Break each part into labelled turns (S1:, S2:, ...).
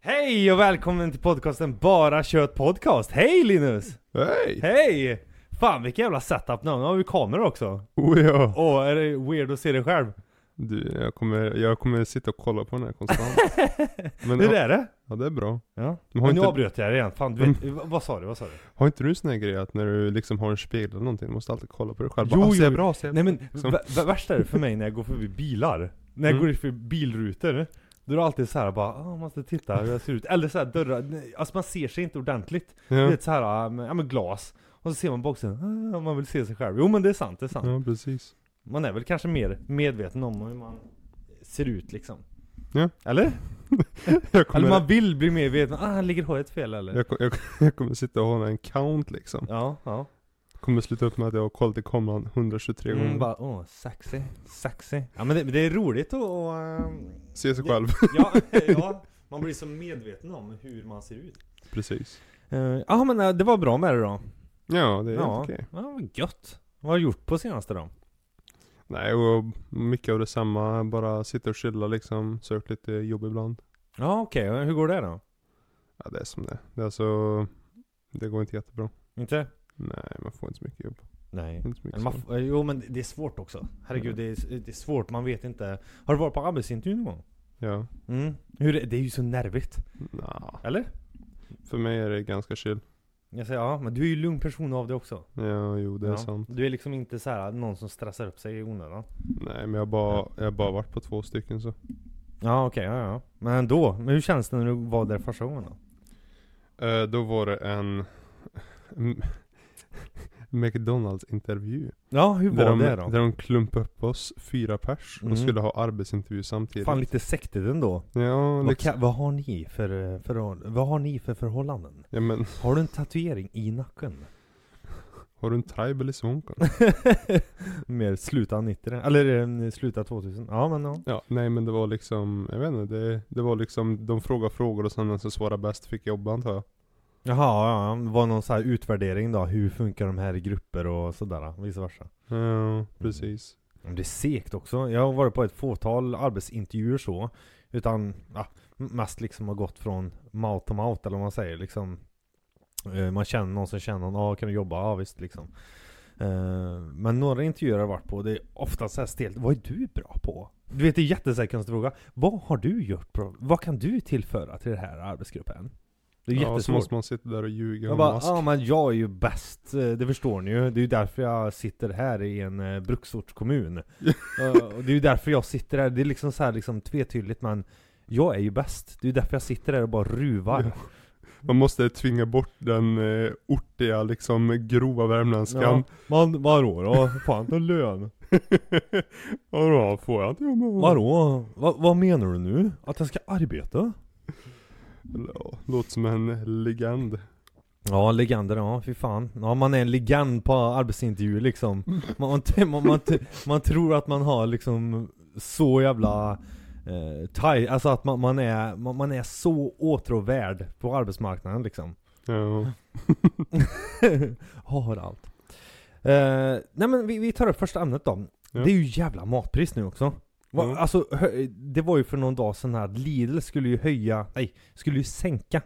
S1: Hej och välkommen till podcasten Bara Kött Podcast. Hej Linus!
S2: Hej!
S1: Hej! Fan vilken jävla setup nu. Nu har vi kameror också.
S2: Oh ja.
S1: Åh, är det weird att se dig själv?
S2: Du, jag kommer, jag kommer sitta och kolla på den här konstant. Men,
S1: Hur
S2: ja,
S1: är det?
S2: ja, det är bra.
S1: Ja.
S2: Men
S1: Nu
S2: har, inte, Mm.
S1: avbröt jag dig igen. Fan, du vet, vad vad sa du? Vad sa du?
S2: har inte du en sån här grej att när du liksom har en spegel eller någonting, du måste alltid kolla på dig själv?
S1: Jo,
S2: Bara, ah, ser jag
S1: jo.
S2: bra? Ser jag
S1: Nej men,
S2: Som-
S1: v- v- värst är det för mig när jag går förbi bilar. När jag
S2: Mm.
S1: går förbi bilrutor. Då är det alltid så här bara, ah, måste titta hur jag ser ut. Eller så här dörrar, nej, alltså man ser sig inte ordentligt.
S2: bra?
S1: Du
S2: Ja.
S1: vet så här, ah, men- ja men glas. Och så ser man boxen, ah, man vill se sig själv. Jo men det är sant, det är sant.
S2: ja, precis.
S1: Man är väl kanske mer medveten om hur man ser ut liksom.
S2: Ja.
S1: Eller?
S2: Jag kommer,
S1: Eller man vill bli mer medveten. Ah, ligger håret fel eller?
S2: jag, ko- jag, jag kommer sitta och hålla en count liksom.
S1: Ja, ja.
S2: Kommer sluta upp med att jag har kollat i kameran 123 gånger.
S1: Mm, bara, åh, sexy, sexy. Ja men det, det är roligt att och, ehm,
S2: Se sig
S1: Det-
S2: själv.
S1: ja, ja, man blir så medveten om hur man ser ut.
S2: precis.
S1: Ja men eh, det var bra med det då.
S2: Ja, det är
S1: Ja.
S2: helt okej.
S1: Ja, vad gött. Vad har du gjort på senaste då?
S2: Nej, och mycket av detsamma. Bara sitta och chilla liksom. Sökt lite jobb ibland.
S1: Ja okej, hur går det då?
S2: Ja, det är som det är. Det är alltså, det går inte jättebra.
S1: Inte?
S2: Nej, man får inte så mycket jobb.
S1: Nej.
S2: Inte så
S1: Men
S2: mycket
S1: Man,
S2: så. Mm.
S1: f- eh, jo men det är svårt också. Herregud det är, det är svårt, man vet inte. Har du varit på arbetsintervju någon gång?
S2: Ja.
S1: Mm. Hur, är- det är ju så nervigt.
S2: Nja,
S1: Eller?
S2: för mig är det ganska chill.
S1: Jag säger ja, men du är ju lugn person av det också.
S2: Ja, jo det är
S1: ja.
S2: sant.
S1: Du är liksom inte så här någon som stressar upp sig i onödan.
S2: Nej, men jag har bara, jag har bara varit på två stycken så.
S1: Ja okej, ja, ja. Men ändå. Men hur känns det när du var där första gången då?
S2: Eh, då var det en McDonalds-intervju.
S1: Ja, hur var
S2: Där, de-
S1: det då?
S2: där de klumpade upp oss, fyra pers,
S1: Mm.
S2: och skulle ha arbetsintervju samtidigt.
S1: Fan lite sektigt ändå.
S2: Ja,
S1: Vad,
S2: liksom.
S1: ka- vad, har ni för, eh, för, vad har ni för förhållanden?
S2: Ja, men,
S1: Har du en tatuering i nacken?
S2: har du en tribal i svånken?
S1: Mer sluta 90 eller eh, sluta 2000. Ja men ja.
S2: Ja, nej men det var liksom, jag vet inte, det, det var liksom, de frågade frågor och sen den som svarade bäst fick jobba antar jag.
S1: Jaha, ja, ja. var någon så här utvärdering då? Hur funkar de här i grupper och sådär? Vice versa.
S2: Ja, precis.
S1: Men Det är segt också. Jag har varit på ett fåtal arbetsintervjuer så. Utan ja, mest liksom har gått från mouth to mouth eller vad man säger. Liksom, eh, man känner någon som känner någon. Ja, kan du jobba? Ja, visst liksom. Eh, men några intervjuer har jag varit på. Det är ofta så här stelt. Vad är du bra på? Du vet, det är en jättesär konstig fråga. Vad har du gjort bra? Vad kan du tillföra till den här arbetsgruppen? Det är
S2: Ja, så
S1: jättesvårt.
S2: måste man sitta där och ljuga
S1: Jag
S2: och
S1: bara, "Ah."
S2: mask.
S1: ja men jag är ju bäst, eh, det förstår ni ju. Det är ju därför jag sitter här i en eh, bruksortskommun. Eh, och det är ju därför jag sitter här, det är liksom så här liksom tvetydigt men jag är ju bäst. Det är ju därför jag sitter här och bara ruvar.
S2: Man måste tvinga bort den eh, ortiga, liksom grova värmländskan.
S1: Man, vadå då? Fan en lön.
S2: Ja. då får jag inte jobba?
S1: Vadå? Va, vad menar du nu? Att jag ska arbeta?
S2: Eller, ja, Låter som en legend.
S1: Ja, legender, ja fy fan. Ja, man är en legend på arbetsintervjuer liksom. Man, man, t- man, man, t- man tror att man har liksom så jävla eh, taj, alltså att man, man, är, man, man är så åtråvärd på arbetsmarknaden liksom.
S2: Ja.
S1: har allt. Eh, nej men vi, vi tar upp första ämnet då.
S2: Ja.
S1: Det är ju jävla matpris nu också. Va,
S2: Mm.
S1: Alltså, hö, det var ju för någon dag sedan här att Lidl skulle ju höja, nej, skulle ju sänka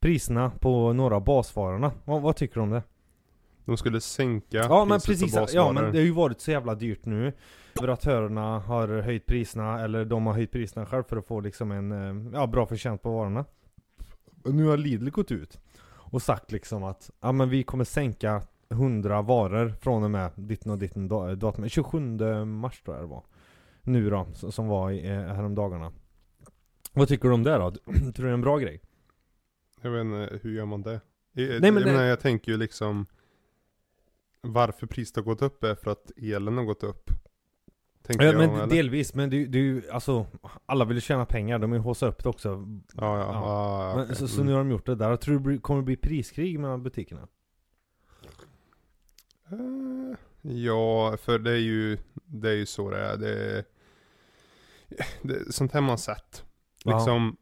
S1: priserna på några av basvarorna. Vad- vad tycker du om det?
S2: De skulle sänka
S1: Ja men
S2: priset på
S1: precis, ja
S2: basvaror.
S1: men det har ju varit så jävla dyrt nu Leveratörerna har höjt priserna, eller de har höjt priserna själv för att få liksom en eh, ja, bra förtjänst på varorna Och Nu har Lidl gått ut och sagt liksom att ja men vi kommer sänka 100 varor från och med ditten och ditten da- datum 27 mars tror jag det var Nu då, s- som var i, eh, häromdagarna Vad tycker du om det då? Tror du det är en bra grej?
S2: Jag vet inte, hur gör man det?
S1: men
S2: Jag, jag,
S1: det-
S2: menar, jag tänker ju liksom Varför priset har gått upp är för att elen har gått upp. Tänker
S1: Ja,
S2: jag,
S1: men
S2: eller?
S1: delvis, men du, du, alltså alla vill ju tjäna pengar, de vill ju haussa upp det också
S2: Ja, ja,
S1: ja.
S2: ja. ja, ja
S1: Men,
S2: okej.
S1: så, så
S2: Mm.
S1: nu har de gjort det där. Jag tror det blir- kommer det bli priskrig mellan butikerna.
S2: Eh, Ja, för det är ju, det är ju så det är. Det, det, sånt här man har sett.
S1: Ja.
S2: Liksom,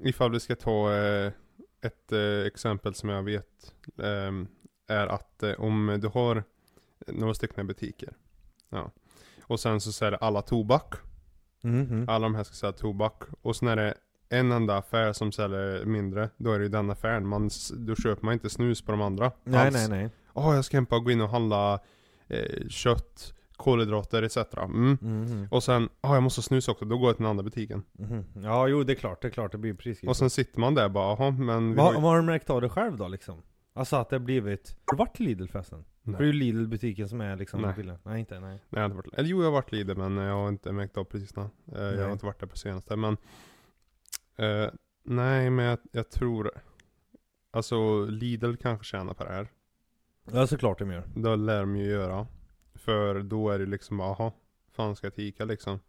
S2: ifall vi ska ta eh, ett eh, exempel som jag vet ehm, är att eh, om du har några stycken butiker. Ja. Och sen så säljer alla tobak.
S1: Mhm.
S2: Mm-hmm. Alla de här ska sälja tobak. Och sen är det en enda affär som säljer mindre, då är det ju den affären. Man, s- då köper man inte snus på de andra.
S1: Nej,
S2: alls.
S1: nej, nej.
S2: Åh, jag ska hem och gå in och handla eh, kött, kolhydrater etc. Mm.
S1: Mhm,
S2: Och sen, åh jag måste snusa också, då går jag till den andra butiken.
S1: mhm. Ja, jo det är klart, det är klart det blir prisskrivet.
S2: Och sen sitter man där bara, jaha men vi
S1: Vad
S2: har
S1: vad
S2: ju...
S1: har du märkt av det själv då liksom? Alltså att det har blivit... Har du varit till Lidl förresten?
S2: Nej.
S1: För det är ju Lidl-butiken som är liksom
S2: Nej.
S1: bilden. Nej inte, nej.
S2: Nej, jag har inte varit... Eller jo, jag har varit Lidl men jag har inte märkt av precis nu. Eh, Jag
S1: Nej.
S2: har inte varit där på senaste men... Eh, nej men jag, jag tror... Alltså Lidl kanske tjänar på det här.
S1: Ja såklart de gör.
S2: Det lär de ju göra. För då är det liksom bara, jaha, fan ska jag till Ica liksom?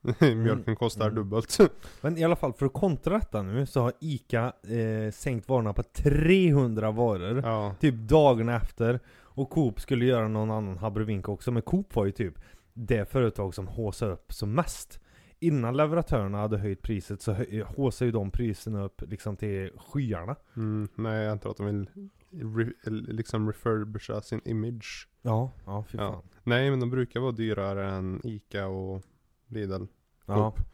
S2: Mjölken kostar
S1: mm.
S2: dubbelt.
S1: Men i alla fall för att kontra detta nu så har ICA eh, sänkt varorna på 300 varor.
S2: ja.
S1: Typ dagen efter. Och Coop skulle göra någon annan abrovink också. Men Coop var ju typ det företag som haussade upp som mest. Innan leverantörerna hade höjt priset så hö- haussade ju de priserna upp liksom till skyarna.
S2: Mm, nej, jag antar att de vill re, liksom refurbisha sin image.
S1: Ja, ja fy
S2: Ja.
S1: fan.
S2: Nej, men de brukar vara dyrare än Ica och Lidl.
S1: Ja.
S2: Coop.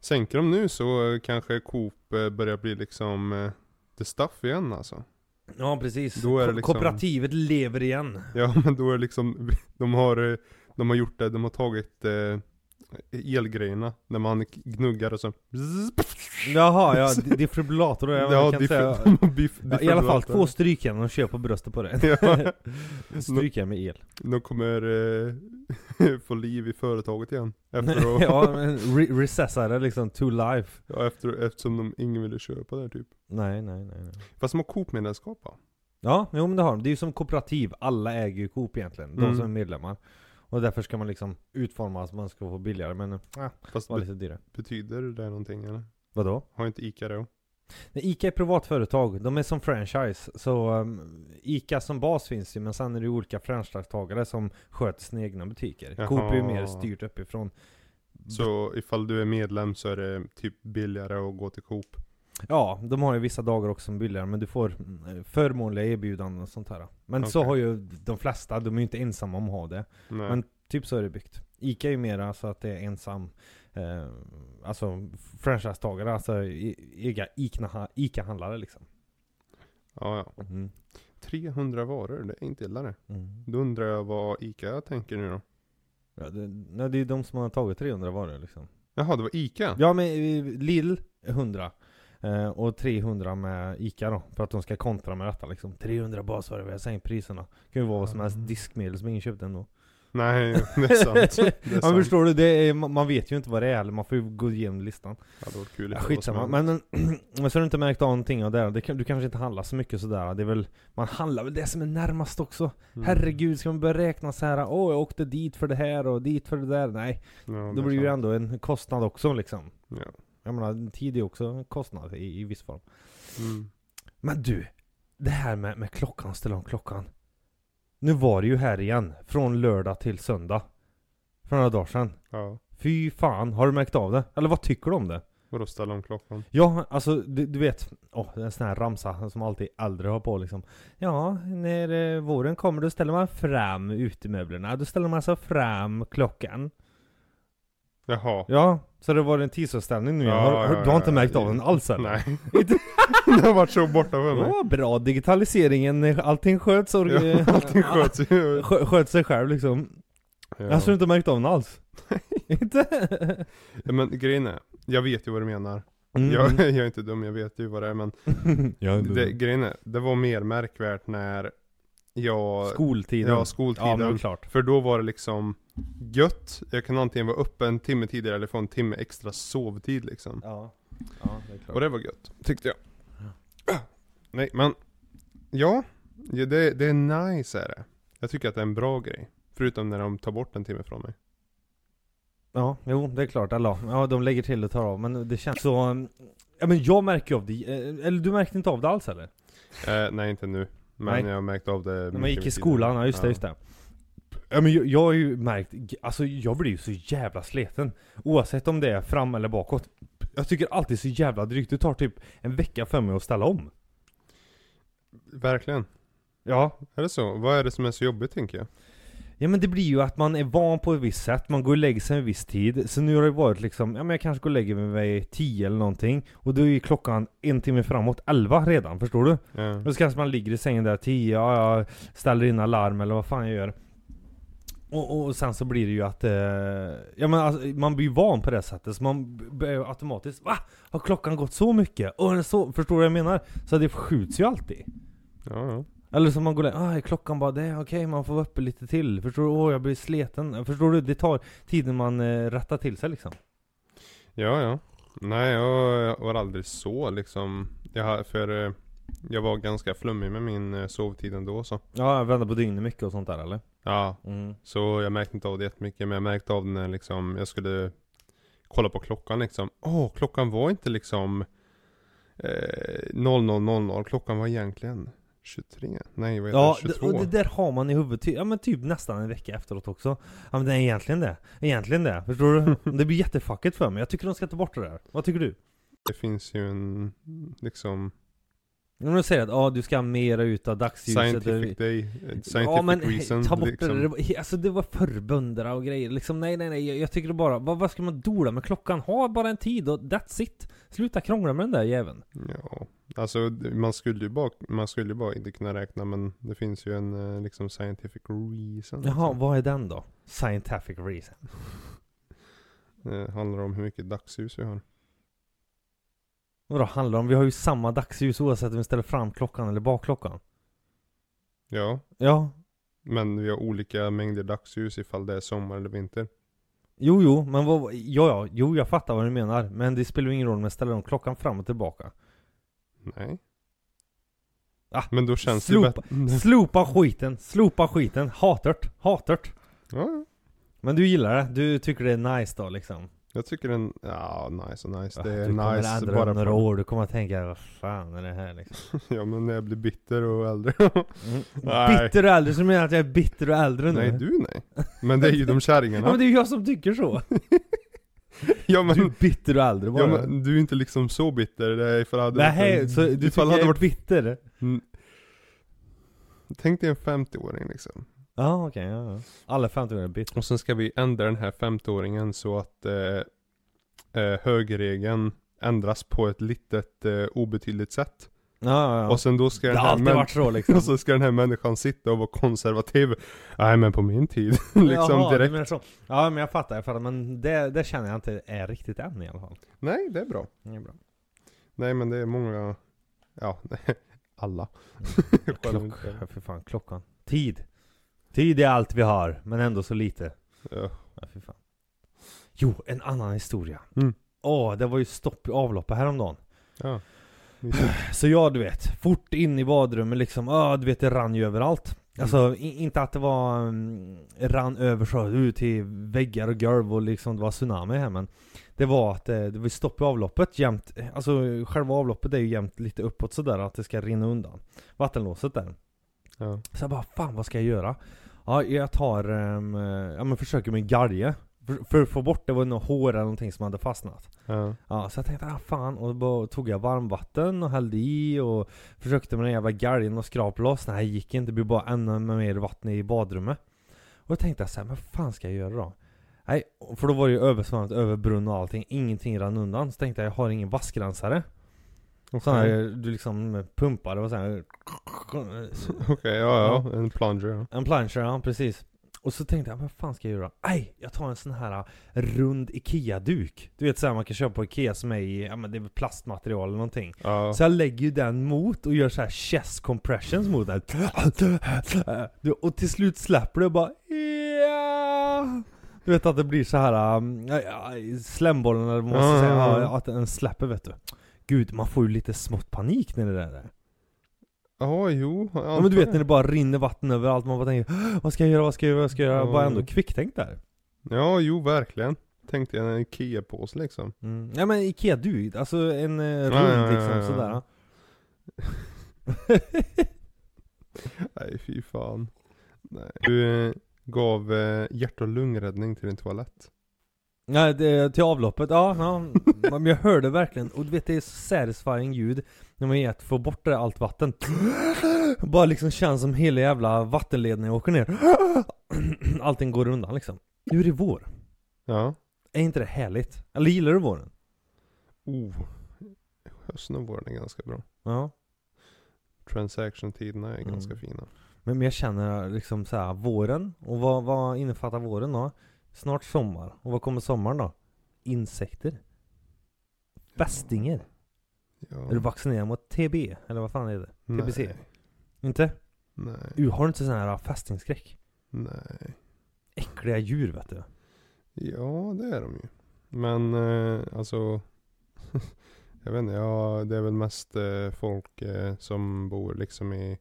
S2: Sänker de nu så eh, kanske Coop eh, börjar bli liksom eh, the stuff igen alltså.
S1: Ja precis.
S2: Då är det
S1: Ko-
S2: liksom-
S1: Kooperativet lever igen.
S2: Ja, men då är liksom, de har, eh, de har gjort det, de har tagit eh, elgrejerna. När man gnuggar och så.
S1: Jaha, ja. di- Defibrillator jag
S2: Ja,
S1: kan
S2: diff-
S1: säga.
S2: de har biff-
S1: Ja, I alla fall
S2: defibrillator.
S1: två strykjärn och köpa bröstet på det.
S2: Ja,
S1: Strykjärn med el.
S2: de kommer eh, få liv i företaget igen. Efter att,
S1: ja, men re- recessa det liksom to life.
S2: ja, efter, eftersom de ingen ville köpa det typ.
S1: Nej, nej, nej. nej.
S2: Fast de har Coop-medlemskap va?
S1: Ja, jo men det har de. Det är ju som kooperativ. Alla äger ju Coop egentligen. De
S2: Mm.
S1: som är medlemmar. Och därför ska man liksom utforma så man ska få billigare, men äh,
S2: Fast
S1: var
S2: be-
S1: lite dyrare.
S2: betyder det där någonting eller?
S1: Vadå?
S2: Har inte ICA det?
S1: Nej, ICA är privatföretag, de är som franchise. Så um, ICA som bas finns ju, men sen är det ju olika franchisetagare som sköter sina egna butiker.
S2: Jaha.
S1: Coop är ju mer styrt uppifrån.
S2: Så ifall du är medlem så är det typ billigare att gå till Coop.
S1: Ja, de har ju vissa dagar också som billigare, men du får mm, förmånliga erbjudanden och sånt här. Men så
S2: Okej.
S1: har ju de flesta, de är ju inte ensamma om att ha det.
S2: Nej.
S1: Men- Typ så är det byggt. ICA är ju mera så att det är ensam, eh, alltså franchisetagare, alltså i- ega- ikna- ICA-handlare liksom.
S2: ja, ja.
S1: Mm.
S2: 300 varor, det är inte illa det.
S1: Mm.
S2: Då undrar jag vad ICA tänker nu då?
S1: Ja, det, nej, det är ju de som har tagit 300 varor liksom.
S2: Jaha, det var ICA?
S1: Ja men eh, Lill 100 eh, och 300 med Ica då. För att de ska kontra med detta liksom. 300 basvaror, vi har sänkt priserna. Kan ju vara vad som helst
S2: Mm.
S1: diskmedel som ingen köpte ändå.
S2: Nej, det är sant. Det är
S1: Ja men
S2: sant.
S1: förstår du, det är, ma- man vet ju inte vad det är eller man får ju gå igenom listan.
S2: Ja, det var
S1: Ja,
S2: kul ifall det var
S1: skitsamma,
S2: som
S1: men, men så har du inte märkt av någonting av det här. Det kan, Du kanske inte handlar så mycket sådär. Det är väl, man handlar väl det som är närmast också.
S2: Mm.
S1: Herregud, ska man börja räkna så här? Åh, jag åkte dit för det här och dit för det där. Nej,
S2: Ja,
S1: då
S2: det är
S1: blir det ju
S2: sant.
S1: ändå en kostnad också liksom.
S2: Ja.
S1: Jag menar, tid är också en kostnad i, i viss form.
S2: Mm.
S1: Men du, det här med, med klockan, ställa om klockan. Nu var det ju här igen, från lördag till söndag. För några dagar sedan.
S2: Ja,
S1: Fy fan, har du märkt av det? Eller vad tycker du om det?
S2: vadå ställa om klockan?
S1: Ja, alltså du, du vet, åh, det är en sån här ramsa som alltid äldre har på liksom. Ja, när eh, våren kommer då ställer man fram utemöblerna. Då ställer man alltså fram klockan.
S2: Jaha.
S1: Ja, så det var en tidsuppställning nu.
S2: Ja,
S1: har, har,
S2: ja,
S1: du har inte
S2: ja.
S1: märkt av den alls eller?
S2: Nej. det har varit så borta för mig.
S1: Ja, bra digitaliseringen. eh, Allting sköts, och, eh,
S2: Ja, allting sköts ju.
S1: skö, sköts sig själv liksom. Jag har
S2: Ja.
S1: inte märkt av den alls. inte?
S2: Men grejen är, jag vet ju vad du menar.
S1: Mm.
S2: Jag, jag är inte dum, jag vet ju vad det är men
S1: Ja, du.
S2: det, grejen är, det var mer märkvärt när jag...
S1: Skoltiden.
S2: Ja,
S1: Ja,
S2: skoltiden.
S1: men klart.
S2: för då var det liksom gött, jag kan antingen vara uppe en timme tidigare eller få en timme extra sovtid liksom.
S1: Ja. ja, det är klart.
S2: Och det var gött, tyckte jag. Ah, Nej men, ja. ja det, det är nice är det. Jag tycker att det är en bra grej. Förutom när de tar bort en timme från mig.
S1: Ja, jo det är klart. Alla, ja, de lägger till och tar av. Men det känns så... um, Ja men jag märker ju av det. eh, Eller du märkte inte av det alls eller?
S2: Eh, nej inte nu. Men
S1: Nej.
S2: jag har märkt av det
S1: När man
S2: mycket
S1: gick i
S2: tidigare.
S1: skolan, ja just det,
S2: Ja.
S1: just det. Ja men jag, jag har ju märkt, g- alltså jag blir ju så jävla sleten. Oavsett om det är fram eller bakåt. Jag tycker alltid så jävla drygt. Det tar typ en vecka för mig att ställa om.
S2: Verkligen.
S1: Ja,
S2: Är det så? Vad är det som är så jobbigt tänker jag?
S1: Ja men det blir ju att man är van på ett visst sätt, man går och lägger sig en viss tid. Så nu har det varit liksom, ja men jag kanske går och lägger mig 10 eller någonting. Och då är ju klockan en timme framåt, 11 redan, förstår du?
S2: Ja.
S1: Och så kanske man ligger i sängen där 10, ja, jag ställer in alarm eller vad fan jag gör. Och, och sen så blir det ju att, eh, ja men alltså, man blir van på det sättet. Så man b- börjar ju automatiskt, va? Har klockan gått så mycket? Och är den så, förstår du vad jag menar? Så det förskjuts ju alltid.
S2: Ja, ja.
S1: Eller som man går där, ah, är klockan bara det, okej man får vara uppe lite till. Förstår du? Åh jag blir sliten. Förstår du? Det tar tiden man eh, rättar till sig liksom.
S2: Ja, ja. Nej, jag, jag var aldrig så liksom. Jag, har- för eh, jag var ganska flummig med min eh, sovtid ändå så.
S1: Ja, jag vänder på dygnet mycket och sånt där eller?
S2: Ja,
S1: Mm.
S2: så jag märkte inte av det jättemycket. Men jag märkte av det när liksom, jag skulle kolla på klockan liksom. Åh, klockan var inte liksom eh, 00.00. Klockan var egentligen 23. Nej, vad heter
S1: Ja,
S2: det?
S1: det,
S2: 22.
S1: och det där har man i huvudet, ty- ja men typ nästan en vecka efteråt också. Ja men det är egentligen det. Egentligen det. Förstår du? det blir jättefucket för mig. Jag tycker de ska ta bort det där. Vad tycker du?
S2: det finns ju en liksom
S1: Om de säger att ah, du ska ha mera utav dagsljuset.
S2: scientific day, eh, scientific
S1: ja men
S2: reason.
S1: ta bort
S2: liksom.
S1: det, det. var- Alltså det var förbönder och grejer. Liksom, nej nej nej, jag, jag tycker det bara, vad, vad ska man dola med klockan? Ha bara en tid och that's it. Sluta krångla med den där jäveln.
S2: Ja, alltså d- man skulle ju bara, man skulle ju bara inte kunna räkna men det finns ju en eh, liksom scientific reason.
S1: Jaha,
S2: liksom.
S1: vad är den då? Scientific reason.
S2: Det handlar om hur mycket dagsljus vi har.
S1: Vadå handlar det om? Vi har ju samma dagsljus oavsett om vi ställer fram klockan eller bak klockan.
S2: Ja,
S1: Ja,
S2: men vi har olika mängder dagsljus ifall det är sommar eller vinter.
S1: jo jo, men vad, ja ja, jo jag fattar vad du menar. Men det spelar ju ingen roll om jag ställer om klockan fram och tillbaka.
S2: Nej.
S1: Ah,
S2: men då känns
S1: slopa- Mm.
S2: det ju bättre.
S1: Slopa skiten, slopa skiten. Hatört, hatört.
S2: Ja,
S1: Men du gillar det, du tycker det är nice då liksom?
S2: jag tycker den, ja nice och nice.
S1: Ja,
S2: Det är
S1: du kommer
S2: nice
S1: ändra
S2: bara
S1: om några
S2: på,
S1: år, du kommer att tänka vad fan är det här liksom?
S2: Ja men när jag blir bitter och äldre. Mm. Nej.
S1: bitter och äldre, så du menar att jag är bitter och äldre nu?
S2: nej du nej. Men det är ju de
S1: ja,
S2: kärringarna.
S1: men det är ju jag som tycker så!
S2: Ja, men-
S1: Du är bitter och äldre bara.
S2: Ja, men du är inte liksom så bitter, det är ifall det hade varit
S1: Nej,
S2: en-
S1: så du tycker
S2: ifall det
S1: jag
S2: hade
S1: är
S2: varit...
S1: bitter?
S2: Tänk dig en 50-åring liksom.
S1: Ja okej, ja, ja. Alla 50 är bitter.
S2: Och sen ska vi ändra den här 50-åringen så att eh, eh, högerregeln ändras på ett litet eh, obetydligt sätt.
S1: Ja, ja, ja.
S2: Och sen då ska
S1: det
S2: den
S1: har
S2: här
S1: alltid
S2: män-
S1: varit så liksom.
S2: och så ska den här människan sitta och vara konservativ. Nej men på min tid. liksom
S1: Jaha, du
S2: direkt.
S1: menar så. Ja men jag fattar, jag fattar. Men det, det känner jag inte är riktigt än i alla fall.
S2: Nej det är bra.
S1: Det är bra.
S2: Nej men det är många, ja alla. Jag skäller
S1: Klock,
S2: inte.
S1: ja, för fan, Mm. klockan. Tid. Tid är allt vi har, men ändå så lite.
S2: Ja.
S1: Ja, fy fan. Jo, en annan historia.
S2: Mm.
S1: Åh, det var ju stopp i avloppet häromdagen.
S2: ja.
S1: Så jag, du vet, fort in i badrummet liksom. Ja, du vet, det rann ju överallt. Alltså, i, inte att det var mm, rann över så ut till väggar och golv och liksom det var tsunami här men det var att eh, det var stopp i avloppet jämt. Alltså själva avloppet är ju jämt lite uppåt sådär att det ska rinna undan. Vattenlåset där.
S2: Ja.
S1: Så jag bara, fan vad ska jag göra? Ja, jag tar, ehm, eh, ja men försöker med en galge. För, för att få bort, det var några hår eller någonting som hade fastnat.
S2: Ja.
S1: Ja, så jag tänkte, ah fan. Och då bara tog jag varmvatten och hällde i och försökte med den jävla galgen och skrapa loss. Nej, det gick inte. Det blev bara ännu mer vatten i badrummet. Och då tänkte jag så här, men vad fan ska jag göra då? Nej, för då var det ju översvämmat över brunn och allting. Ingenting rann undan. Så tänkte jag, jag har ingen vassgränsare. Sån här, du liksom pumpar och så här
S2: Okej, ja ja, en plunger ja.
S1: En plunger, ja precis. Och så tänkte jag, vad fan ska jag göra? Aj! Jag tar en sån här äh, rund IKEA-duk. Du vet såhär man kan köpa på IKEA som är i, ja men det är väl plastmaterial eller någonting.
S2: Ja.
S1: Så jag lägger ju den mot och gör så här chest compressions mot den. Du, Och till slut släpper det och bara ja. Du vet att det blir så här um, ja, ja, slembollen eller vad man ska
S2: Ja,
S1: säga,
S2: ja, ja.
S1: ja, att den släpper vet du. Gud, man får ju lite smått panik när det där är.
S2: Ja, jo.
S1: Ja men du vet när det bara rinner vatten överallt, man bara tänker "Åh, Vad ska jag göra, vad ska jag göra, vad ska jag göra?
S2: Ja.
S1: Bara ändå kvicktänkt där.
S2: Ja, jo verkligen. Tänkte jag en IKEA-påse liksom.
S1: Mm. Ja men Ikea du, alltså en eh, rund
S2: ja, ja,
S1: liksom
S2: ja, ja.
S1: sådär.
S2: Nej, fy fan. Nej. Du eh, gav eh, hjärt och lungräddning till din toalett.
S1: Ja, det, till avloppet, ja, ja. Men jag hörde verkligen, och du vet det är så satisfying ljud när man ger- får bort det där allt vatten. Bara liksom känns som hela jävla vattenledningen åker ner. Allting går undan liksom. Nu är det vår.
S2: Ja.
S1: Är inte det härligt? Eller gillar du våren?
S2: Oh. Hösten och våren är ganska bra.
S1: Ja.
S2: Transaction-tiderna är
S1: Mm.
S2: ganska fina.
S1: Men men jag känner liksom så här, våren. Och vad, vad innefattar våren då? Snart sommar. Och vad kommer sommaren då? Insekter. Fästingar.
S2: Ja.
S1: Är du vaccinerad mot TB? Eller vad fan är det? TBC?
S2: Nej.
S1: Inte?
S2: Nej.
S1: Du har inte sån här fästingskräck?
S2: Nej.
S1: Äckliga djur vet du.
S2: Ja, det är de ju. Men eh, alltså, jag vet inte, ja, det är väl mest eh, folk eh, som bor liksom i,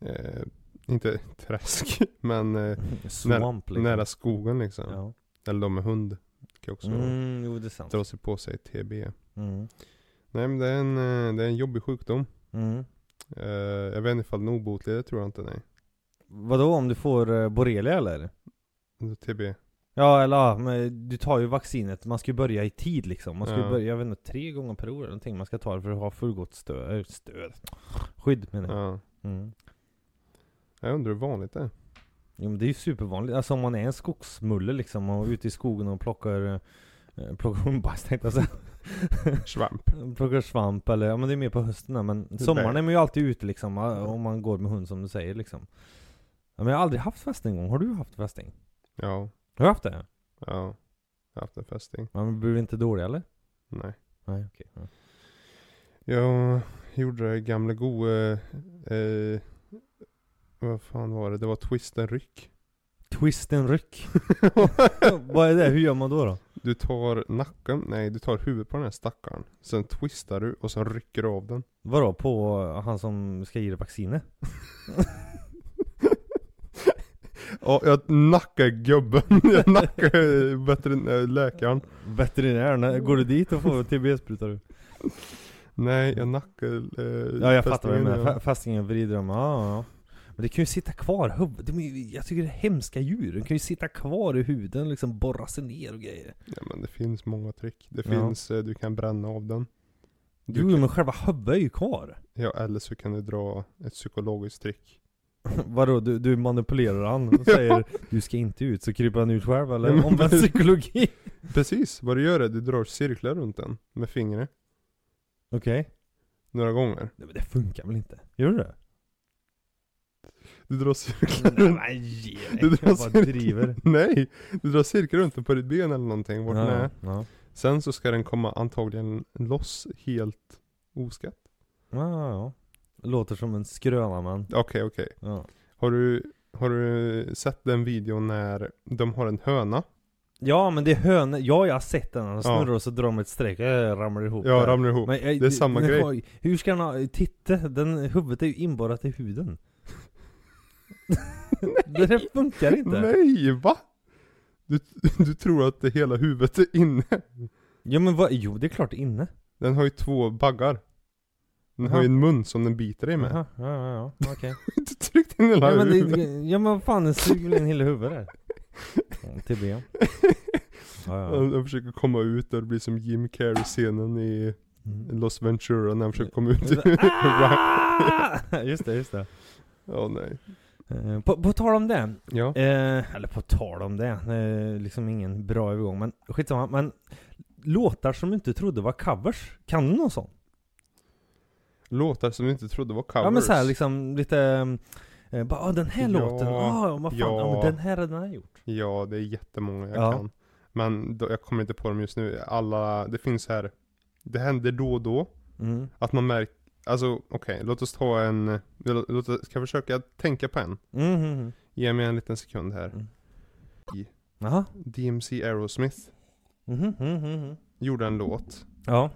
S2: eh, inte träsk, men eh,
S1: Svamp liksom.
S2: nära skogen liksom.
S1: Ja.
S2: Eller de med hund kan också
S1: Mm, jo det är sant.
S2: dra sig på sig TB.
S1: Mm.
S2: Nej men det är en, eh, det är en jobbig sjukdom.
S1: Mm.
S2: Eh, jag vet inte ifall den är obotlig, det tror jag inte nej.
S1: Vadå om du får eh, borrelia eller?
S2: TB.
S1: Ja eller ja, men du tar ju vaccinet, man ska ju börja i tid liksom. Man ska ju
S2: Ja.
S1: börja, jag vet inte, tre gånger per år eller någonting man ska ta det för att ha fullgott stöd, stöd. skydd menar jag.
S2: Ja.
S1: Mm.
S2: Jag undrar hur vanligt det är.
S1: Jo men det är ju supervanligt, alltså om man är en skogsmulle liksom och ute i skogen och plockar eh, Plockar hundbajs tänkte jag säga.
S2: Svamp.
S1: Plockar svamp eller, ja men det är mer på hösten här, men sommaren är man ju alltid ute liksom eh, om man går med hund som du säger liksom. Ja, men jag har aldrig haft fästing någon gång, har du haft fästing?
S2: Ja,
S1: Har du haft det?
S2: ja. Jag har haft en fästing.
S1: Ja, men blir du inte dålig eller?
S2: Nej.
S1: Nej okej. Ja.
S2: Jag gjorde det gamla gode, eh, vad fan var det? Det var twist and ryck.
S1: Twist and ryck. Vad är det? Hur gör man då då?
S2: du tar nacken, nej du tar huvudet på den här stackaren. Sen twistar du och sen rycker du av den.
S1: Vadå? På han som ska ge dig vaccinet?
S2: Ja, jag nackar gubben. jag nackar eh, veterinär- läkaren.
S1: Veterinären, går du dit och får TB-spruta du?
S2: Nej, jag nackar eh,
S1: Ja jag fattar vad du
S2: fästingen,
S1: menar,
S2: ja.
S1: Fa- fästingen vrider dem, ja, ja Men det kan ju sitta kvar, huv- de är ju, jag tycker det är hemska djur, de kan ju sitta kvar i huden liksom borra sig ner och grejer
S2: ja men det finns många trick. Det
S1: Ja.
S2: finns, eh, du kan bränna av den. Du
S1: Jo
S2: kan,
S1: men själva huvudet är ju kvar
S2: ja, eller så kan du dra ett psykologiskt trick.
S1: Vadå, du, du manipulerar han och säger du ska inte ut, så kryper han ut själv eller? Omvänd psykologi
S2: Precis, vad du gör är att du drar cirklar runt den med fingret
S1: Okej
S2: några gånger.
S1: Nej men det funkar väl inte? Gör det?
S2: Du drar cirklar
S1: Nej,
S2: runt...
S1: men ge dig.
S2: Du drar
S1: jag bara
S2: cirklar-
S1: driver.
S2: Nej! Du drar cirklar runt den på ditt ben eller någonting, vart den är.
S1: Ja, ja.
S2: Sen så ska den komma antagligen loss helt oskatt.
S1: Ja, ja, ja. Låter som en skröna man.
S2: Okej, okej.
S1: Ja.
S2: Har, du, har du sett den videon när de har en höna?
S1: ja men det är hönor, ja jag har sett den. Han
S2: Ja.
S1: snurrar och så drar de ett streck, äh, ramlar ihop.
S2: Ja,
S1: där.
S2: ramlar ihop.
S1: Men, jag-
S2: Det är samma
S1: men
S2: grej.
S1: har- Hur ska han ha, titta, den, huvudet är ju inborrat i huden. det där funkar inte.
S2: Nej, va? Du, du tror att det hela huvudet är inne?
S1: Ja men vad, jo det är klart inne.
S2: Den har ju två baggar. Den har ju en mun som den biter dig med.
S1: Jaha, ja ja ja, okej.
S2: Du tryckte in hela
S1: ja, men
S2: huvudet.
S1: det, ja men vad fan, den suger väl in hela huvudet där. Ja, TB. Ja, ja.
S2: Han, han försöker komma ut och det blir som Jim Carrey-scenen i
S1: Mm.
S2: Los Ventura när han försöker komma ut.
S1: Ah! Just det, just det.
S2: Ja, nej.
S1: Eh, På, på tal om det,
S2: Ja.
S1: eh, eller på tal om det, eh, liksom ingen bra övergång men skitsamma. Men låtar som du inte trodde var covers, kan du någon sån?
S2: Låtar som vi inte trodde var covers.
S1: Ja men såhär liksom lite, eh, bara ah, den här
S2: Ja,
S1: låten, ah, vad fan, ja.
S2: ja.
S1: men den här har den här gjort.
S2: Ja, det är jättemånga jag
S1: Ja.
S2: kan. Men då, jag kommer inte på dem just nu. Alla, det finns här. Det händer då och då
S1: Mm.
S2: att man märker, alltså okej, låt oss ta en, låt, låt oss, ska jag försöka tänka på en?
S1: Mm, mm, mm.
S2: Ge mig en liten sekund här.
S1: Mm. Jaha.
S2: DMC Aerosmith
S1: Mhm, mhm, mhm, mhm.
S2: gjorde en låt.
S1: Ja,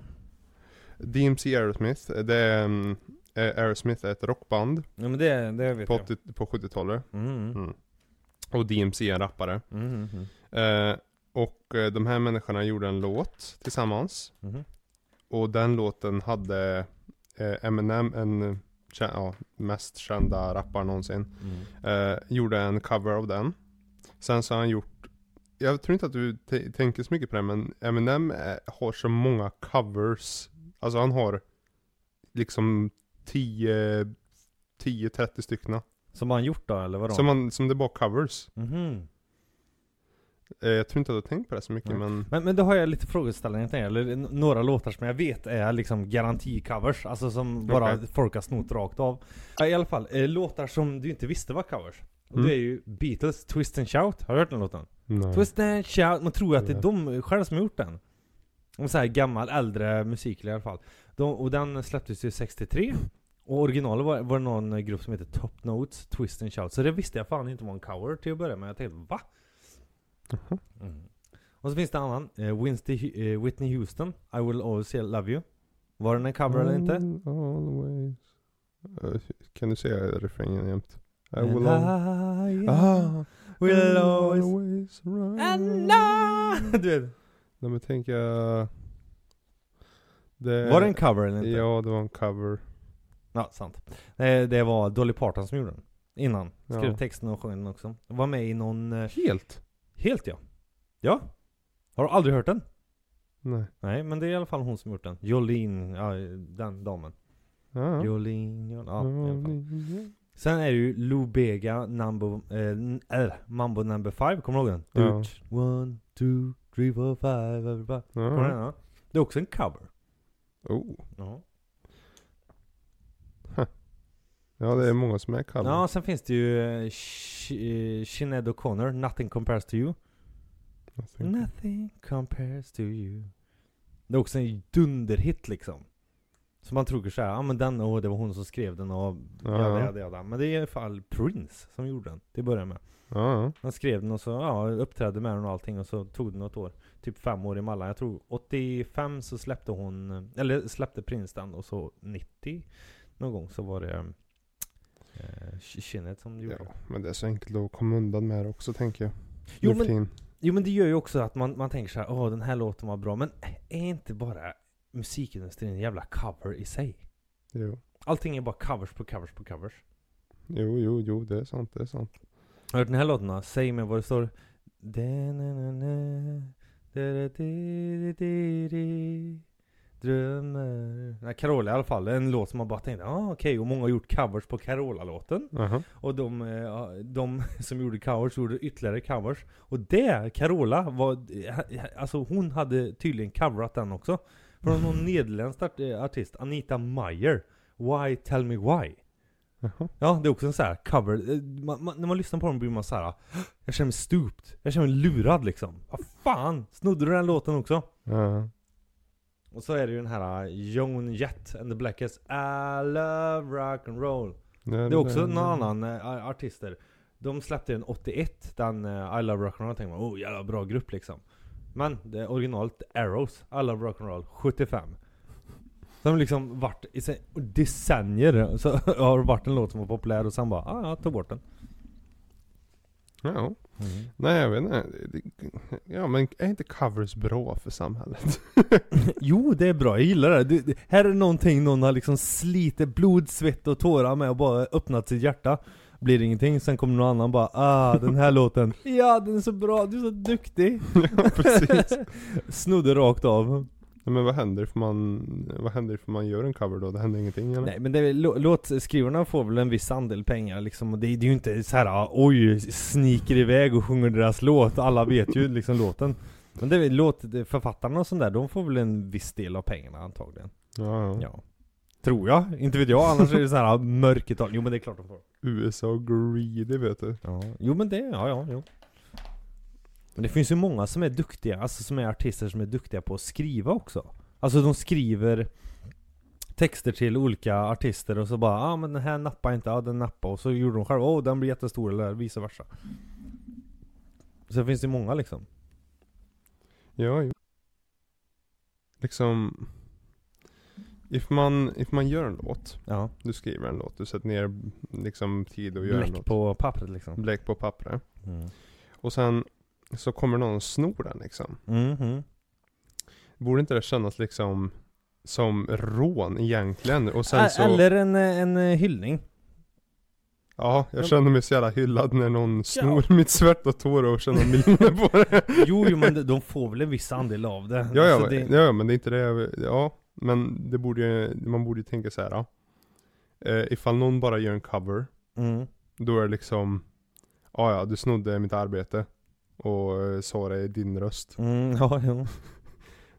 S2: DMC Aerosmith, det är, mm, eh, Aerosmith är ett rockband
S1: ja men det, det vet
S2: på,
S1: jag.
S2: 80, på 70-talet.
S1: Mm, mm,
S2: Mm. Och DMC är en rappare.
S1: mm, mm,
S2: Eh, och eh, de här människorna gjorde en låt tillsammans.
S1: mm.
S2: Och den låten hade eh, Eminem, en eh, kä- ja, mest kända rappare någonsin,
S1: Mm.
S2: eh, gjorde en cover av den. Sen så har han gjort, jag tror inte att du t- tänker så mycket på det men Eminem eh, har så många covers. Alltså han har liksom 10, 10-30 stycken.
S1: Som han gjort då eller vadå?
S2: Som, man, som det bara covers.
S1: Mhm.
S2: Eh, jag tror inte att du har tänkt på det så mycket
S1: Nej.
S2: men
S1: Men, men då har jag lite frågeställningar till er, eller n- några låtar som jag vet är liksom garanticovers, alltså som bara
S2: Okej.
S1: folk har snott rakt av. Ja, I alla fall, eh, låtar som du inte visste var covers. Och
S2: Mm.
S1: det är ju Beatles, Twist and Shout, har du hört den låten?
S2: nej.
S1: Twist and Shout, man tror ju att det är
S2: Nej.
S1: de själva som har gjort den. Om så här gammal, äldre musik i alla fall. De, och den släpptes ju 63. Och originalet var, var någon grupp som heter Top Notes, Twist and Shout. Så det visste jag fan inte var en cover till att börja med. Jag tänkte va?
S2: Jaha.
S1: Mm. Och så finns det en annan, eh, Winston, eh, Whitney Houston, I will always love you. Var den en cover eller inte?
S2: Mm, Always. Eh, Kan du säga refrängen jämt? I
S1: And
S2: will al-
S1: I
S2: Ah,
S1: will
S2: I'll
S1: always...
S2: run.
S1: And I... Du vet,
S2: Nej men tänk jag... Det...
S1: var det en cover eller inte?
S2: Eh, Ja det var en cover.
S1: Ja, sant. Eh, Det var Dolly Parton som gjorde den. Innan. Skrev
S2: Ja.
S1: texten och sjöng den också. Var med i någon... eh,
S2: Helt?
S1: Helt ja. Ja. Har du aldrig hört den?
S2: Nej.
S1: Nej, men det är i alla fall hon som gjort den. Jolene, ja, den damen. Jolene,
S2: Ja.
S1: Jolene, ja, i alla fall.
S2: Ja.
S1: Sen är det ju Lou Bega, Nambo, eh, n- äh, Mambo number five, kommer du ihåg den?
S2: Ja.
S1: One, two, three, four, five, everybody. Kommer du ihåg den, ja. Det är också en cover.
S2: Oh.
S1: Ja.
S2: ja det är många som är cover.
S1: Ja, sen finns det ju eh, Sh- eh, Sinead O'Connor, Nothing Compares To You.
S2: Jag tänker-
S1: Nothing compares to you Det är också en dunderhit liksom Som man tror såhär, ja ah, men den, åh det var hon som skrev den och
S2: Ja.
S1: jada, jada, jada. Men det är i alla fall Prince som gjorde den till att börja med
S2: Ja.
S1: Han skrev den och så, ja, uppträdde med den och allting och så tog det något år Typ fem år emellan, jag tror 85 så släppte hon, eller släppte Prince den och så 90 någon gång så var det eh, Kinnet som gjorde det
S2: ja. Men det är så enkelt att komma undan med det också tänker jag.
S1: Jo,
S2: Nu för
S1: men-
S2: tiden.
S1: Jo men det gör ju också att man, man tänker så här, åh den här låten var bra, men är inte bara musikindustrin en jävla cover i sig?
S2: Jo.
S1: Allting är bara covers på covers på covers.
S2: jo, jo, jo, det är sant, det är sant.
S1: Har du hört den här låten då? Säg mig vad det står. Da-na-na-na, da-da-di-di-di-di, Drömmar. Nej, Carola i alla fall, en låt som man bara tänkte, ah, okej, och många har gjort covers på Carola-låten.
S2: Aha.
S1: Och de, eh, ja, de som gjorde covers gjorde ytterligare covers. Och det, Carola, var, alltså hon hade tydligen coverat den också. Från någon nederländsk art- eh, artist, Anita Meyer. Why Tell Me Why.
S2: Jaha.
S1: Ja, det är också en sån här cover. Eh, Man, man, när man lyssnar på den blir man så här. jag känner mig stupt. Jag känner mig lurad liksom. Vad fan, snodde du den låten också?
S2: Ja.
S1: Och så är det ju den här eh, Joan Jett and the Blackheads. I love rock and roll. Det är också någon annan eh, ar- artister. De släppte den 81, den eh, I Love Rock'n'Roll, och tänkte man oh jävla bra grupp liksom. Men det originalet Arrows, I Love Rock'n'Roll 75. Så har de liksom varit i se- decennier, så har det varit en låt som var populär och sen bara ah, ja, ta bort den.
S2: Ja.
S1: Mm.
S2: Nej, jag vet inte. Det- Ja, men är inte covers bra för samhället?
S1: Jo, det är bra, jag gillar det. Det- det. Här är någonting någon har liksom slitit blod, svett och tårar med och bara öppnat sitt hjärta. Blir det ingenting, sen kommer någon annan bara ah den här låten, ja den är så bra, du är så duktig.
S2: ja, precis.
S1: Snodde rakt av.
S2: Ja, Men vad händer för man, vad händer för man gör en cover då? Det händer ingenting eller?
S1: Nej men det är, väl- lå- låtskrivarna får väl en viss andel pengar liksom. Och det, är- det är ju inte så här, ah, oj, sniker iväg och sjunger deras låt. Alla vet ju liksom låten. Men det är väl låt, det- författarna och sånt där, de får väl en viss del av pengarna antagligen.
S2: Ja, ja.
S1: Ja. Tror jag, inte vet jag. Annars är det så här ah, mörkertal. Jo men det är klart de får.
S2: USA greedy vet du.
S1: Ja. Jo men det, ja ja, jo. Men det finns ju många som är duktiga, alltså som är artister som är duktiga på att skriva också. Alltså de skriver texter till olika artister och så bara ah, men den här nappar inte, ah, den nappar och så gjorde de själva, åh den blir jättestor eller vice versa. Sen finns det många liksom.
S2: Ja, jo. Liksom. If man, if man gör en låt.
S1: Ja.
S2: Du skriver en låt. Du sätter ner liksom tid och gör en
S1: Bläck
S2: låt.
S1: på pappret liksom.
S2: Bläck på pappret.
S1: Mm.
S2: Och sen så kommer någon och snor den liksom.
S1: Mhm.
S2: Borde inte det kännas liksom som rån egentligen? Och
S1: Ä-
S2: sen så...
S1: Eller en, eh, en eh, hyllning.
S2: Ja,
S1: Ja.
S2: jag känner mig så jävla hyllad när någon snor mitt svärta tår och tjänar miljoner på det.
S1: Jo, jo men de- de får väl en viss andel av det.
S2: Ja, ja,
S1: Alltså, det...
S2: ja, men det är inte det jag, Ja, men det borde ju, man borde ju tänka så här. Ja. eh, ifall någon bara gör en cover,
S1: Mm.
S2: då är det liksom, ja ja, du snodde mitt arbete och eh, sa det i din röst.
S1: Mm, ja, jo.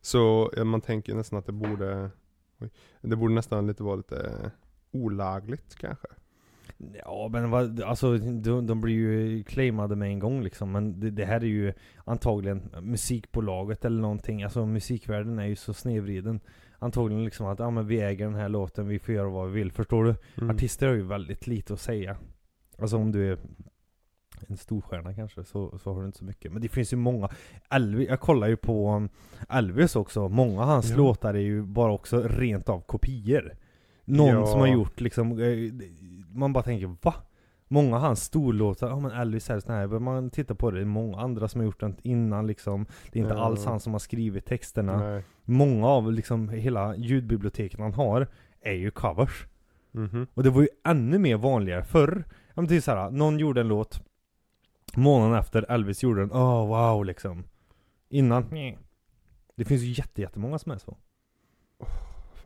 S2: Så eh, man tänker nästan att det borde, oj, det borde nästan lite vara lite olagligt kanske.
S1: Ja men vad, alltså de, de blir ju claimade med en gång liksom. Men det, det här är ju antagligen musikbolaget eller någonting. Alltså musikvärlden är ju så snedvriden. Antagligen liksom att, ja men vi äger den här låten, vi får göra vad vi vill. Förstår du?
S2: Mm.
S1: Artister har ju väldigt lite att säga. Alltså om du är en storstjärna kanske så, så har du inte så mycket. Men det finns ju många. Elvis, jag kollar ju på um, Elvis också. Många av hans
S2: Ja.
S1: låtar är ju bara också rent av kopior. Någon
S2: Ja.
S1: som har gjort liksom, eh, man bara tänker va? Många av hans storlåtar, ja men Elvis är sån här, men man tittar på det, det är många andra som har gjort den innan liksom. Det är inte
S2: Ja.
S1: alls han som har skrivit texterna.
S2: Nej.
S1: Många av liksom hela ljudbiblioteken han har är ju covers.
S2: Mhm.
S1: Och det var ju ännu mer vanligare förr. Ja men det är såhär, någon gjorde en låt Månaden efter Elvis gjorde den, oh wow liksom Innan, nej. Det finns ju jätte, jättemånga som är så.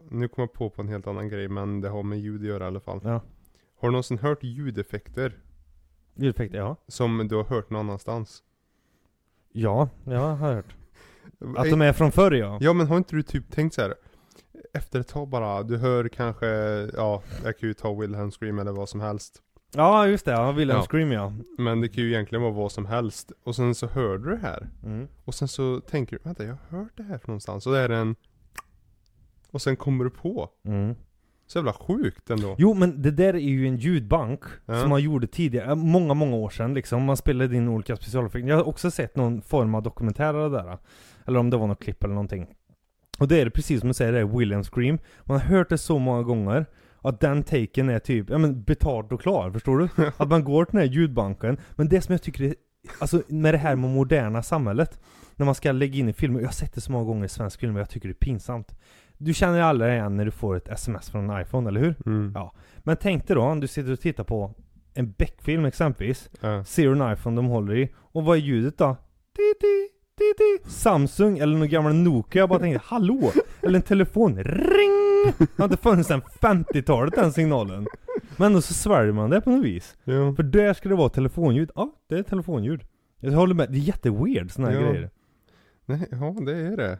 S2: Nu kom jag på på en helt annan grej, men det har med ljud att göra i alla fall.
S1: Ja.
S2: Har du någonsin hört ljudeffekter
S1: Ljudeffekter, ja.
S2: som du har hört någon annanstans?
S1: Ja, jag har hört. Att de är från förr ja.
S2: Ja men har inte du typ tänkt så här efter ett tag bara, du hör kanske, ja, jag kan ju ta Wilhelm Scream eller vad som helst.
S1: Ja just det, ja. Wilhelm
S2: Ja.
S1: Scream ja.
S2: Men det kan ju egentligen vara vad som helst. Och sen så hör du det här.
S1: Mm.
S2: Och sen så tänker du, vänta jag har hört det här från någonstans. Och det är en... Och sen kommer du på.
S1: Mm.
S2: Så jävla sjukt ändå.
S1: Jo men det där är ju en ljudbank
S2: Ja.
S1: som man gjorde tidigare, äh, många många år sedan liksom. Man spelade in olika specialeffekter. Jag har också sett någon form av dokumentär av det där. Eller om det var något klipp eller någonting. Och det är det precis som du säger, det är William Scream. Man har hört det så många gånger. Att den taken är typ, ja men betald och klar, förstår du? Att man går till den här ljudbanken. Men det som jag tycker är, alltså med det här med moderna samhället. När man ska lägga in i filmer, jag har sett det så många gånger i svensk film och jag tycker det är pinsamt. Du känner ju alla igen när du får ett sms från en iPhone, eller hur?
S2: Mm.
S1: Ja. Men tänk dig då om du sitter och tittar på en Beck-film exempelvis.
S2: Ja.
S1: Ser du en iPhone de håller i. Och vad är ljudet då? Titi, titi. Samsung eller någon gammal Nokia. Jag bara tänkte hallå! Eller en telefon. Ring! Det har inte funnits sedan 50-talet den signalen. Men ändå så sväljer man det på något vis.
S2: Ja.
S1: För där ska det vara telefonljud. Ja, det är telefonljud. Jag håller med. Det är jätteweird såna här
S2: Ja.
S1: grejer.
S2: Nej, ja det är det.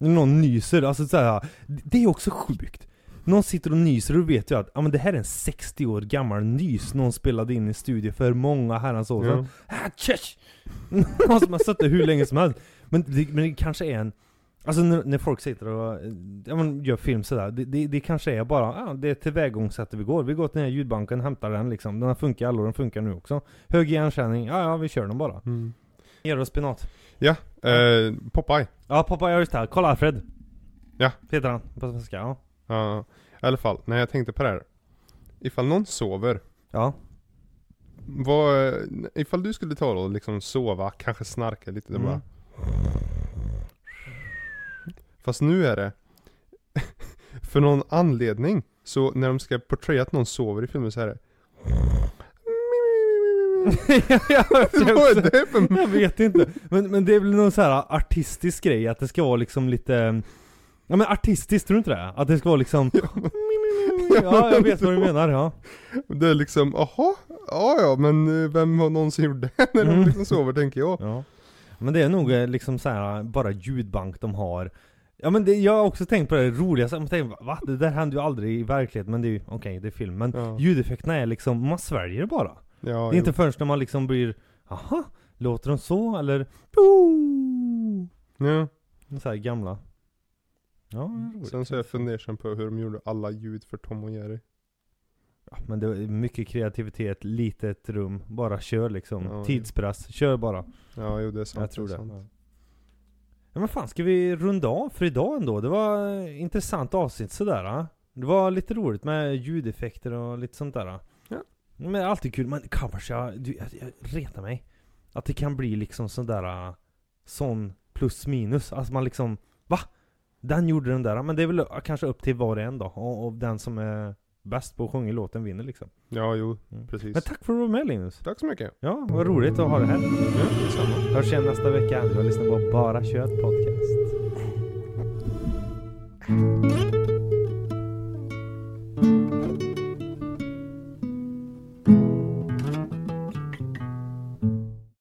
S1: När någon nyser, alltså såhär, det är också sjukt. Någon sitter och nyser och vet ju att ja, men det här är en 60 år gammal nys någon spelade in i studio för många herrans år sedan.
S2: Ja.
S1: Ah, tjösch! Någon som har suttit hur länge som helst. Men det, men det kanske är en... Alltså när, när folk sitter och eh, ja, men gör film sådär, det, det, det kanske är bara ah, det är tillvägagångssättet vi går. Vi går till den här ljudbanken, hämtar den liksom. Den har funkat i alla år, den funkar nu också. Hög igenkänning, ja ja vi kör den bara.
S2: Mm.
S1: Ner och spinat.
S2: Eh, Popeye.
S1: Ja pappa, ja just det här. Kolla Alfred.
S2: Ja.
S1: Heter han på svenska, ja.
S2: Ja, i alla fall. Nej, jag tänkte på det här. Ifall någon sover,
S1: Ja.
S2: vad, ifall du skulle ta och liksom sova, kanske snarka lite, mm.
S1: Mm.
S2: bara... Fast nu är det, för någon anledning, så när de ska porträttera att någon sover i filmen så är det... Vad är det för...
S1: jag vet inte. Men, men det är väl någon så här artistisk grej att det ska vara liksom lite... Ja men artistiskt, tror du inte det? Att det ska vara liksom... Ja, jag vet vad du menar, ja.
S2: Det är liksom, aha, ja ja, men eh, vem har någonsin gjort det när de
S1: Mm.
S2: liksom sover, tänker jag.
S1: ja. Men det är nog eh, liksom så här bara ljudbank de har. Ja men det, jag har också tänkt på det roliga, så jag tänker va? Det där händer ju aldrig i verkligheten, men det är ju, okej det är film. Men
S2: Ja.
S1: ljudeffekterna är liksom, man sväljer det bara.
S2: Ja,
S1: Det är
S2: jo.
S1: inte förrän när man liksom blir, aha, låter de så eller?
S2: ja.
S1: Så här gamla. Ja, det är roligt.
S2: Sen Mm. så är jag fundersam på hur de gjorde alla ljud för Tom och Jerry.
S1: Ja, Men det är mycket kreativitet, litet rum, bara kör liksom.
S2: Ja, ja.
S1: Tidspress, kör bara.
S2: Ja, jo det är sant.
S1: jag tror
S2: är
S1: det.
S2: sant.
S1: Ja. Ja, men fan, ska vi runda av för idag ändå? Det var eh, intressant avsnitt sådär. ah. Det var lite roligt med ljudeffekter och lite sånt där. ah.
S2: Ja.
S1: Men det är alltid kul, men covers, jag, du, jag, jag retar mig. Att det kan bli liksom sådär, ah, sån plus minus. Alltså man liksom, va? Den gjorde den där, ah, men det är väl ah, kanske upp till var och en då. Och, och den som är bäst på att sjunga låten vinner liksom.
S2: Ja, jo,
S1: Mm.
S2: precis.
S1: Men tack för att du var med Linus.
S2: Tack så mycket.
S1: Ja, vad roligt att ha det här.
S2: Ja, detsamma.
S1: Hörs igen nästa vecka. Du har lyssnat på Bara Kött Podcast.